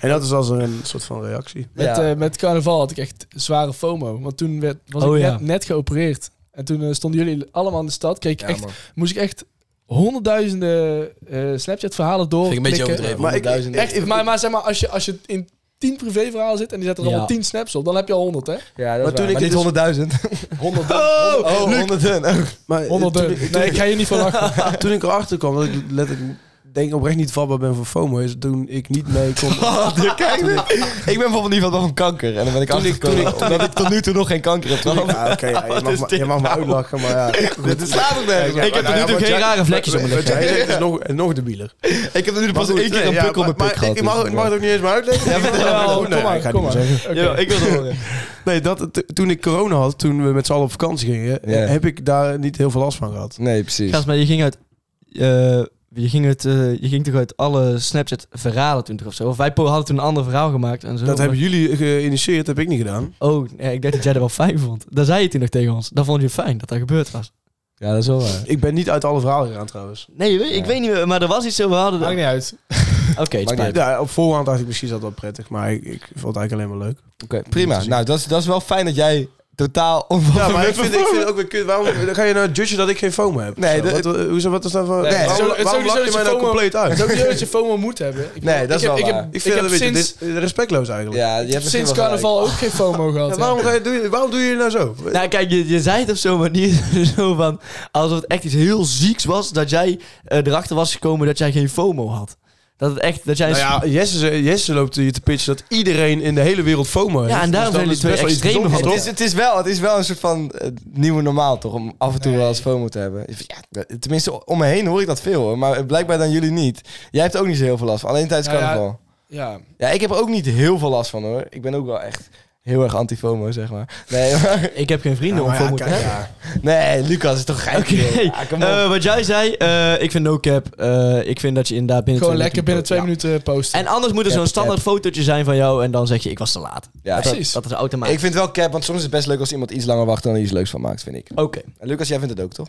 En dat is als een soort van reactie. Met, Ja. eh, met carnaval had ik echt zware FOMO. Want toen werd, was Oh, ik ja. net, net geopereerd. En toen eh, stonden jullie allemaal in de stad. Kreeg ik Ja, echt, man. moest ik echt honderdduizenden eh, Snapchat-verhalen door. Vind ik een beetje overdreven. Maar ik- honderdduizenden. Echt, maar, maar zeg maar, als je, als je in tien privéverhalen zit en die zetten er Ja. allemaal tien snaps op, dan heb je al honderd, hè? Ja, dat Maar toen ik maar het niet dus- 100.000. 100. Oh, oh, 100.000. Maar eh, honderd. toen, nee, ik ga je niet van lachen. ik- toen ik erachter kwam dat ik letterlijk denk oprecht niet vatbaar ben voor FOMO, is toen ik niet mee kon. Oh, de- kijk, dit. ik ben bijvoorbeeld iemand van kanker. En dan ben ik achtergekomen omdat ik tot nu toe nog geen kanker heb gehad. Ja, oké, ja, je, mag me- je mag me uitlachen, maar ja. Dit is slaat ook nergens op. Ja, Ik heb nou er nu ja, toch wat geen jij- rare vlekjes op Wat mijn wat lichaam. jij zegt is nog, nog debieler. Ik heb er nu pas goed, één keer nee, een ja, pukkel op mijn maar- pik maar gehad. dus, eh. Ik mag, ik mag het ook niet eens meer uitleggen. Ja, oh, vertel. Ja, goed, kom Oh, nee, maar, ik ga het kom niet maar. meer zeggen. Oké. Jawel, ik wil het horen. Nee, dat, t- toen ik corona had, toen we met z'n allen op vakantie gingen, Ja. heb ik daar niet heel veel last van gehad. Nee, precies. Gast, maar je ging uit... eh, je, ging uit eh, je ging toch uit alle Snapchat-verhalen toen toch of zo? Of wij po- hadden toen een ander verhaal gemaakt en zo. Dat hebben Maar- jullie geïnitieerd, heb ik niet gedaan. Oh, ja, ik dacht dat jij dat wel fijn vond. Daar zei je toen nog tegen ons. Dat vond je fijn, dat dat gebeurd was. Ja, dat is wel waar. Ik ben niet uit alle verhalen gegaan trouwens. Nee, je weet- ik Ja. weet niet meer, maar er was iets zo, we hadden... Maakt Oké, niet uit. het Maakt spijt me. Ja, op voorhand dacht ik misschien is dat wel prettig, maar ik, ik vond het eigenlijk alleen maar leuk. Oké, prima. Nou, dat is, dat is wel fijn dat jij totaal onvoldoende Ja, maar ik vind, ik bent. vind het ook weer kut. Waarom dan ga je nou judgen dat ik geen FOMO heb? Nee, Zo, dat- wat, eh, hoezo, wat is dat voor... Nee, waarom het is waarom sowieso lach je dat mij je nou FOMO compleet Het uit? is ook niet dat je FOMO moet hebben. Ik- Nee, dat is ik heb- wel ik heb- waar. Ik vind ik dat heb een beetje sinds, dis- respectloos eigenlijk. Ja, je hebt misschien sinds wel gelijk. carnaval ook geen FOMO gehad. Ja, ja. waarom, ga je, doe je, waarom doe je nou zo? Nou kijk, je, je zei het op zo'n manier zo van... Alsof het echt iets heel zieks was dat jij eh, erachter was gekomen dat jij geen FOMO had. Dat het echt, dat jij... Nou ja, Jesse, ze- Jesse loopt hier te pitchen dat iedereen in de hele wereld FOMO heeft. Dus Ja, en daarom dan zijn is die twee best wel iets extremen bijzonders, van Het toch? is, het, is wel, het is wel een soort van eh, nieuwe normaal, toch? Om af en toe wel eens FOMO te hebben. Ja, eh, tenminste, om me heen hoor ik dat veel, hoor. Maar blijkbaar dan jullie niet. Jij hebt ook niet zo heel veel last van. Alleen tijdens Nou ja, carnaval. Ja. Ja, ik heb er ook niet heel veel last van hoor. Ik ben ook wel echt heel erg anti-FOMO, zeg maar. Nee, maar- Ik heb geen vrienden om voor moeten hebben. nee Lucas is toch gek. Oké, Eh, wat jij zei, eh, ik vind no cap. eh, ik vind dat je inderdaad binnen Gewoon twee lekker binnen twee Ja. minuten posten. En anders moet er zo'n standaard fotootje zijn van jou en dan zeg je ik was te laat. ja, Dat- precies. Dat is Maar ik automatisch. vind het wel cap, want soms is het best leuk als iemand iets langer wacht en er iets leuks van maakt, vind ik. Oké. En Lucas, jij vindt het ook, toch?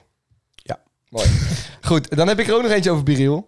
Ja. Mooi. Goed, dan heb ik er ook nog eentje over Biriel.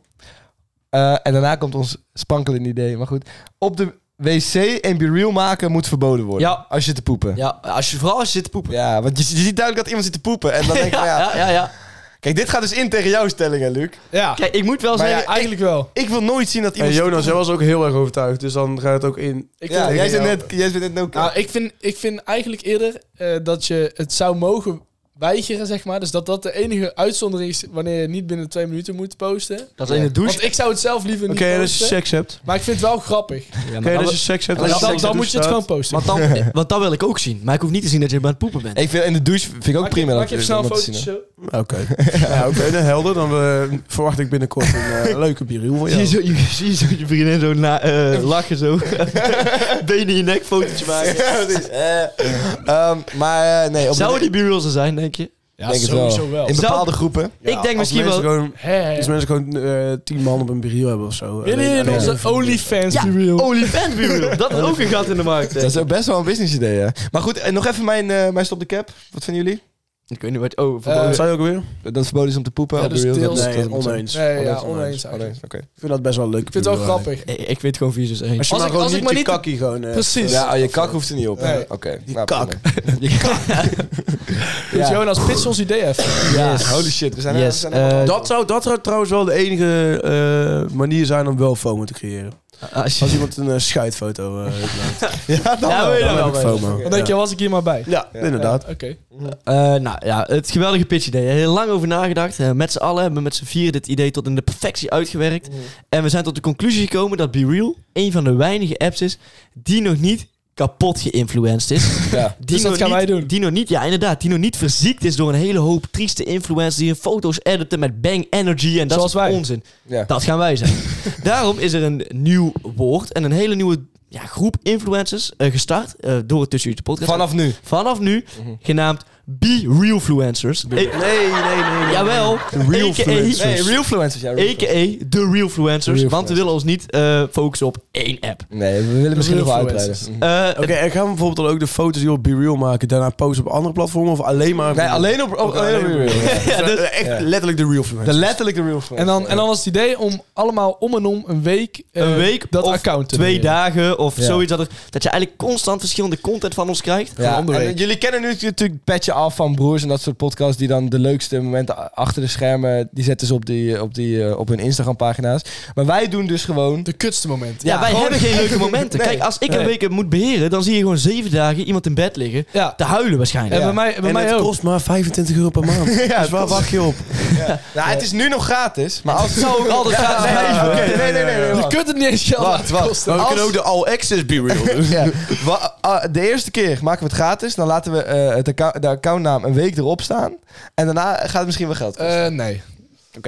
Eh, en daarna komt ons spankelend idee, maar goed. Op de wc en Biriel maken moet verboden worden. Ja. Als je te poepen. Ja, Ja, als je, vooral als je zit te poepen. want je, je ziet duidelijk dat iemand zit te poepen. En dan denk ik, van, ja, ja, ja, ja. Kijk, dit gaat dus in tegen jouw stellingen, Luc. Ja, Kijk, ik moet wel Maar ja, zeggen... eigenlijk wel. Ik wil nooit zien dat En iemand... Jonas, jij was ook heel erg overtuigd, dus dan gaat het ook in. Ik ja, vind- jij tegen zit jou. net, jij zit net no cap. Nou, ik vind, ik vind eigenlijk eerder eh, dat je het zou mogen weigeren, zeg maar. Dus dat dat de enige uitzondering is wanneer je niet binnen twee minuten moet posten. dat is in de douche. Want ik zou het zelf liever niet Oké, en als posten. je seks hebt. Maar ik vind het wel grappig. Ja, Oké, maar als dan- je seks hebt. Dan, als je dan, seks in de moet dus je het douche gewoon posten. want, dan, want dat wil ik ook zien. Maar ik hoef niet te zien dat je aan het poepen bent. ik vind in de douche vind ik ook Maak je- prima. Maak dat- je even snel een om dat te fotootje zien, zo. staat. Oké. Ja, Oké, nou, helder. Dan eh, verwacht ik binnenkort een eh, leuke biriel van jou. je, zo je vriendin zo eh, lachen zo. Benen in je nek, fotootje maken. hoor. Precies. Eh, ehm, maar eh, nee, op de- Zouden die bureaus er zijn, denk je? Ja, denk het wel. sowieso wel. in Zou- bepaalde groepen. Ja, ik denk als misschien wel... mensen Gewoon, Hè, hè. als mensen gewoon eh, tien man op een biriel hebben of zo. Willen Alleen- jullie in alleen- onze OnlyFans Ja, reel? OnlyFans bureau. Dat is ook een gat in de markt. Dat is ook best wel een business idee, hè. Maar goed, en nog even mijn, eh, mijn stop de cap. Wat vinden jullie? Ik weet niet wat... Oh, Eh, Wat zei je ook weer? Dat het verboden is om te poepen? Ja, op dus de reel, deels- dat- Nee, dat moet oneens. Nee, zijn. ja, Oneens, oneens eigenlijk. oneens, oké. Ik vind dat best wel leuk. Ik vind het wel grappig. ik, ik vind gewoon vies als één. Als je Als maar ik- gewoon als ik niet maar je niet- kakkie gewoon... eh, Precies. Ja, oh, je kak hoeft er niet op. hè? Nee. Oké. nou, kak. prima. Dus Jonas, pitch ons idee even. Yes. Holy shit, we zijn er. we Yes. zijn er- eh, Dat zou, dat zou trouwens wel de enige eh, manier zijn om wel FOMO te creëren. als je- Als iemand een eh, scheidfoto eh, heeft laten. ja, dan Ja, wil je dan dat wel heb ik weten? FOMO. Dan denk je, Ja. was ik hier maar bij. Ja, inderdaad. Ja, Oké. Eh, nou ja, het geweldige pitch idee. Heel lang over nagedacht. Eh, met z'n allen hebben we met z'n vier dit idee tot in de perfectie uitgewerkt. En we zijn tot de conclusie gekomen dat Be Real een van de weinige apps is die nog niet kapot geïnfluenced is. Ja. Die Dus dat nog gaan niet- wij doen. Die nog niet, ja inderdaad, die nog niet verziekt is door een hele hoop trieste influencers die hun foto's editen met bang energy en dat Zoals soort wij. onzin. Ja. Dat gaan wij zijn. Daarom is er een nieuw woord en een hele nieuwe ja, groep influencers eh, gestart eh, door het Tussen Jullie de podcast. Vanaf nu. Vanaf nu genaamd Be Realfluencers. Nee, nee, nee. Jawel. Realfluencers. A.k.a. Nee, realfluencers. Ja, realfluencers. A.k.a. de Realfluencers. Want we willen ons niet eh, focussen op één app. Nee, we willen misschien nog wel uitbreiden. Influencers. Eh, Oké, en gaan we bijvoorbeeld dan ook de foto's die we op BeReal maken daarna posten op andere platformen? Of alleen maar... Nee, alleen op, op, alleen op oh, real. Ja, dus echt Ja. letterlijk de real De influencer. letterlijk de real En dan, en dan was het idee om allemaal om en om een week, eh, Een week dat of account te twee beheren. dagen of Ja. zoiets. Dat, er, dat je eigenlijk constant verschillende content van ons krijgt. Ja, andere en week. jullie kennen nu natuurlijk Petje Af van Broers en dat soort podcasts die dan de leukste momenten a- achter de schermen, die zetten ze op, die, op, die, eh, op hun Instagram pagina's. Maar wij doen dus gewoon... De kutste momenten. Ja, wij gewoon- hebben geen leuke momenten. Nee. Kijk, als ik een Nee. week moet beheren, dan zie je gewoon zeven dagen iemand in bed liggen. Ja. Te huilen waarschijnlijk. En bij mij, bij en mij het ook. kost maar 25 euro per maand. dus waar wacht je op? Nou, het is nu nog gratis, maar als... zou ook altijd Ja, gratis nee, blijven. oké, nee, nee, nee, nee, Je wacht. kunt het niet eens zelf Wacht, laten wacht. kosten. Maar we Als- kunnen ook de all-access BeReal doen. Ja. Wa- ah, De eerste keer maken we het gratis, dan laten we eh, het account- de accountnaam een week erop staan en daarna gaat het misschien wel geld kosten. Eh, nee.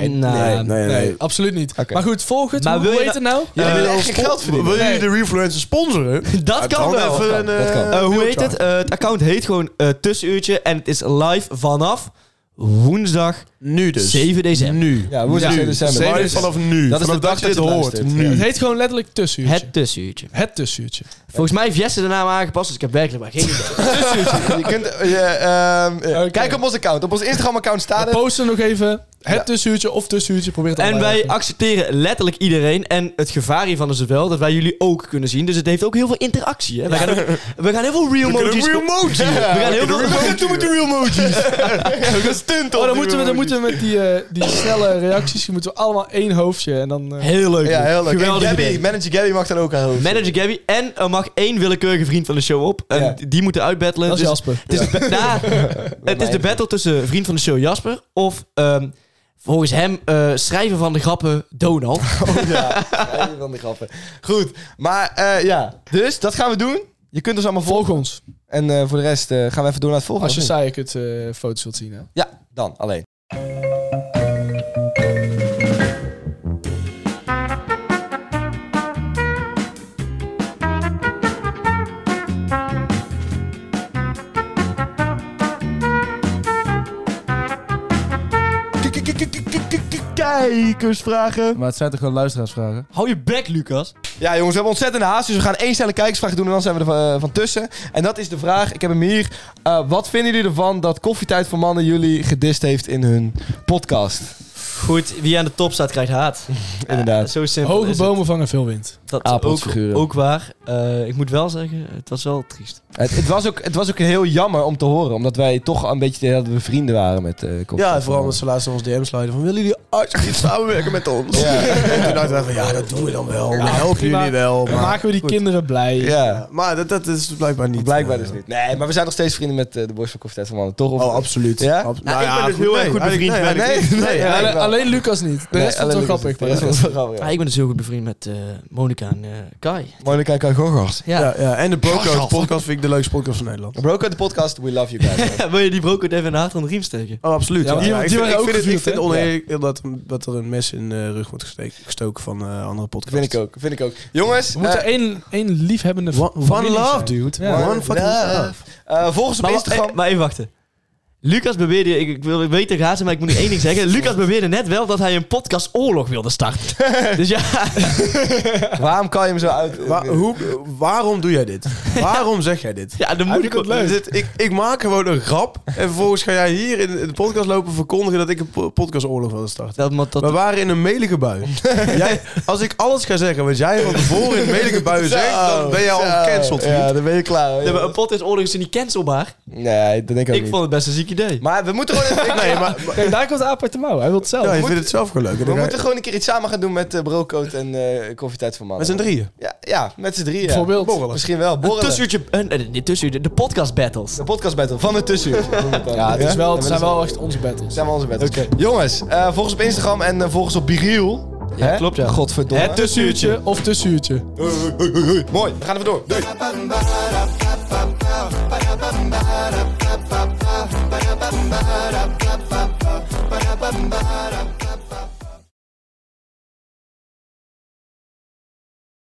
Nou, nee, nee, absoluut niet. Oké. Maar goed, volg het. Maar hoe wil je heet dat- het nou? Jullie eh, willen echt geen geld verdienen. Wil Nee. jullie de Refluencer sponsoren? Dat Dan kan wel. Even Dat kan, dat kan. een, eh, Eh, hoe heet wheelchart. het? Eh, het account heet gewoon eh, Tussenuurtje. En het is live vanaf woensdag Nu dus. 7 december. Nu. Ja, woensdag Ja. 7 december. Zeven- Live vanaf nu. Dat is vanaf de dag dat je het luistert. Nu. Het heet gewoon letterlijk tussenuurtje. Het Het, tussenuurtje. tussenuurtje. Volgens mij heeft Jesse de naam aangepast, dus ik heb werkelijk maar geen idee. Je kunt, eh, ehm, eh, Oké. Kijk op ons account. Op ons Instagram-account staat We het. posten nog even. Het tussenuurtje of tussenuurtje. Probeer het en allebei wij even. accepteren letterlijk iedereen. En het gevaar hiervan is wel dat wij jullie ook kunnen zien. Dus het heeft ook heel veel interactie. Hè? Wij gaan ook- we gaan heel veel real emojis... real We gaan heel veel... Wat doen met de real emojis? Dat stunt Oh, dan moeten we, dan moeten we met die, eh, die snelle reacties moeten we allemaal één hoofdje. En dan, eh, Heel leuk. Ja, heel leuk. Geweldig En Gabby, idee. manager Gabby mag dan ook aan helpen. Manager Gabby. En er mag één willekeurige vriend van de show op. En Ja. die moeten uitbattelen. dat is Dus- Jasper. Het, is, de, nou, het is de battle tussen vriend van de show Jasper of ehm, volgens hem eh, schrijver van de grappen Donald. Oh, ja. Ja, van die grappen. Goed, maar eh, ja. Dus, dat gaan we doen. Je kunt ons allemaal volgen. Volg ons. En eh, voor de rest eh, gaan we even door naar het volgende. Als je of saai ik het eh, foto's wilt zien. Hè? niet? Ja, dan. Alleen. k- k- k- k- k- kijkersvragen. Maar het zijn toch gewoon luisteraarsvragen? Hou je bek, Lucas. Ja, jongens, we hebben ontzettend haast. Dus we gaan één snelle kijkersvraag doen en dan zijn we er van, eh, van tussen. En dat is de vraag. Ik heb hem hier. Eh, wat vinden jullie ervan dat Koffietijd voor Mannen jullie gedist heeft in hun podcast? Goed, wie aan de top staat, krijgt haat. Inderdaad. Eh, zo simpel Hoge is het. bomen vangen veel wind. Dat ook, Apelfiguren. ook waar. Eh, ik moet wel zeggen, het was wel triest. Eh, Het, het was ook, het was ook heel jammer om te horen. Omdat wij toch een beetje dat we vrienden waren met eh Koffietijd Ja, en voor vooral Mannen. omdat ze laatst ons DM's sluiten van willen jullie alsjeblieft samenwerken met ons? Ja. En toen dachten we van ja, dat doen we dan wel. We helpen prima. jullie wel. Dan Maar, maken we die kinderen blij. Ja. maar dat, dat is blijkbaar niet. Blijkbaar eh, dus niet. Nee, maar we zijn nog steeds vrienden met eh, de boys van Koffietijd voor Mannen, toch? Of- Oh, absoluut. Ja? Abs- Nou, ik ben dus heel erg goed bevriend nee, met- nee, Nee, nee, nee, ja. nee. Alleen, ik wel. alleen Lucas niet. De rest Nee, was wel alleen Lucas. grappig. De rest was wel grappig, Ah, ja. ik ben dus heel goed bevriend met eh Monica en eh, Kai. Monika Kagogos. Ja. Ja, ja, en de Broco podcast vind ik de leukste podcast van Nederland. Broken de podcast, we love you guys. Wil je die broker even een hart aan de riem steken? Oh, absoluut. Ja, Ja, want die- Ja, ik die vind- waren ik ook vind het- ik gevuurd, vind het hè? oneerlijk dat, dat er een mes in de rug wordt gesteken, gestoken van eh, andere podcasts. vind ik ook, vind ik ook. Jongens, We moeten eh, één, één liefhebbende One, one familie love, zijn. dude. Ja. One fucking Ja. love. eh, volg ons op Maar, wa- Instagram. eh, maar even wachten. Lucas beweerde, ik, ik wil ik weet tegen haat, maar ik moet nog één ding zeggen. Lucas beweerde net wel dat hij een podcastoorlog wilde starten. dus ja, eh, Waarom kan je hem zo uit? Wa- hoe, waarom doe jij dit? waarom zeg jij dit? ja dan moet ik Dit- dit- ik, ik maak gewoon een grap. En vervolgens ga jij hier in de podcast lopen verkondigen dat ik een po- podcastoorlog wil starten. Dat, dat, We waren in een melige bui. jij, als ik alles ga zeggen wat jij van tevoren in een melige bui zegt, dan ben jij al gecanceld. vriend. Ja, dan ben je klaar. dat- een podcastoorlog is niet cancelbaar. Nee, dat denk ik ook Ik niet. vond het best een ziek idee. Maar we moeten gewoon even- Nee, maar, Kijk, daar komt de aap uit de mouw. Hij wil het zelf. ja, je moet- vindt het zelf gewoon leuk. En we dan ga je- moeten gewoon een keer iets samen gaan doen met eh Brocoat en eh Koffietijd voor Met Mannen. z'n drieën. Ja, ja met z'n drieën. Bijvoorbeeld. Misschien wel. een Borrelen. tussenuurtje, een, eh, niet tussenuurtje, de podcast battles. De podcast battle van het tussenuurtje. noem het dan. Ja, het, is wel, het Ja, zijn dat wel echt onze battles. zijn wel onze battles. Jongens, eh, volg ons op Instagram en eh, volg ons op Biriel. Hè? klopt, ja. Godverdomme. Het tussenuurtje. Of tussenuurtje. Mooi, we gaan even door. Doei.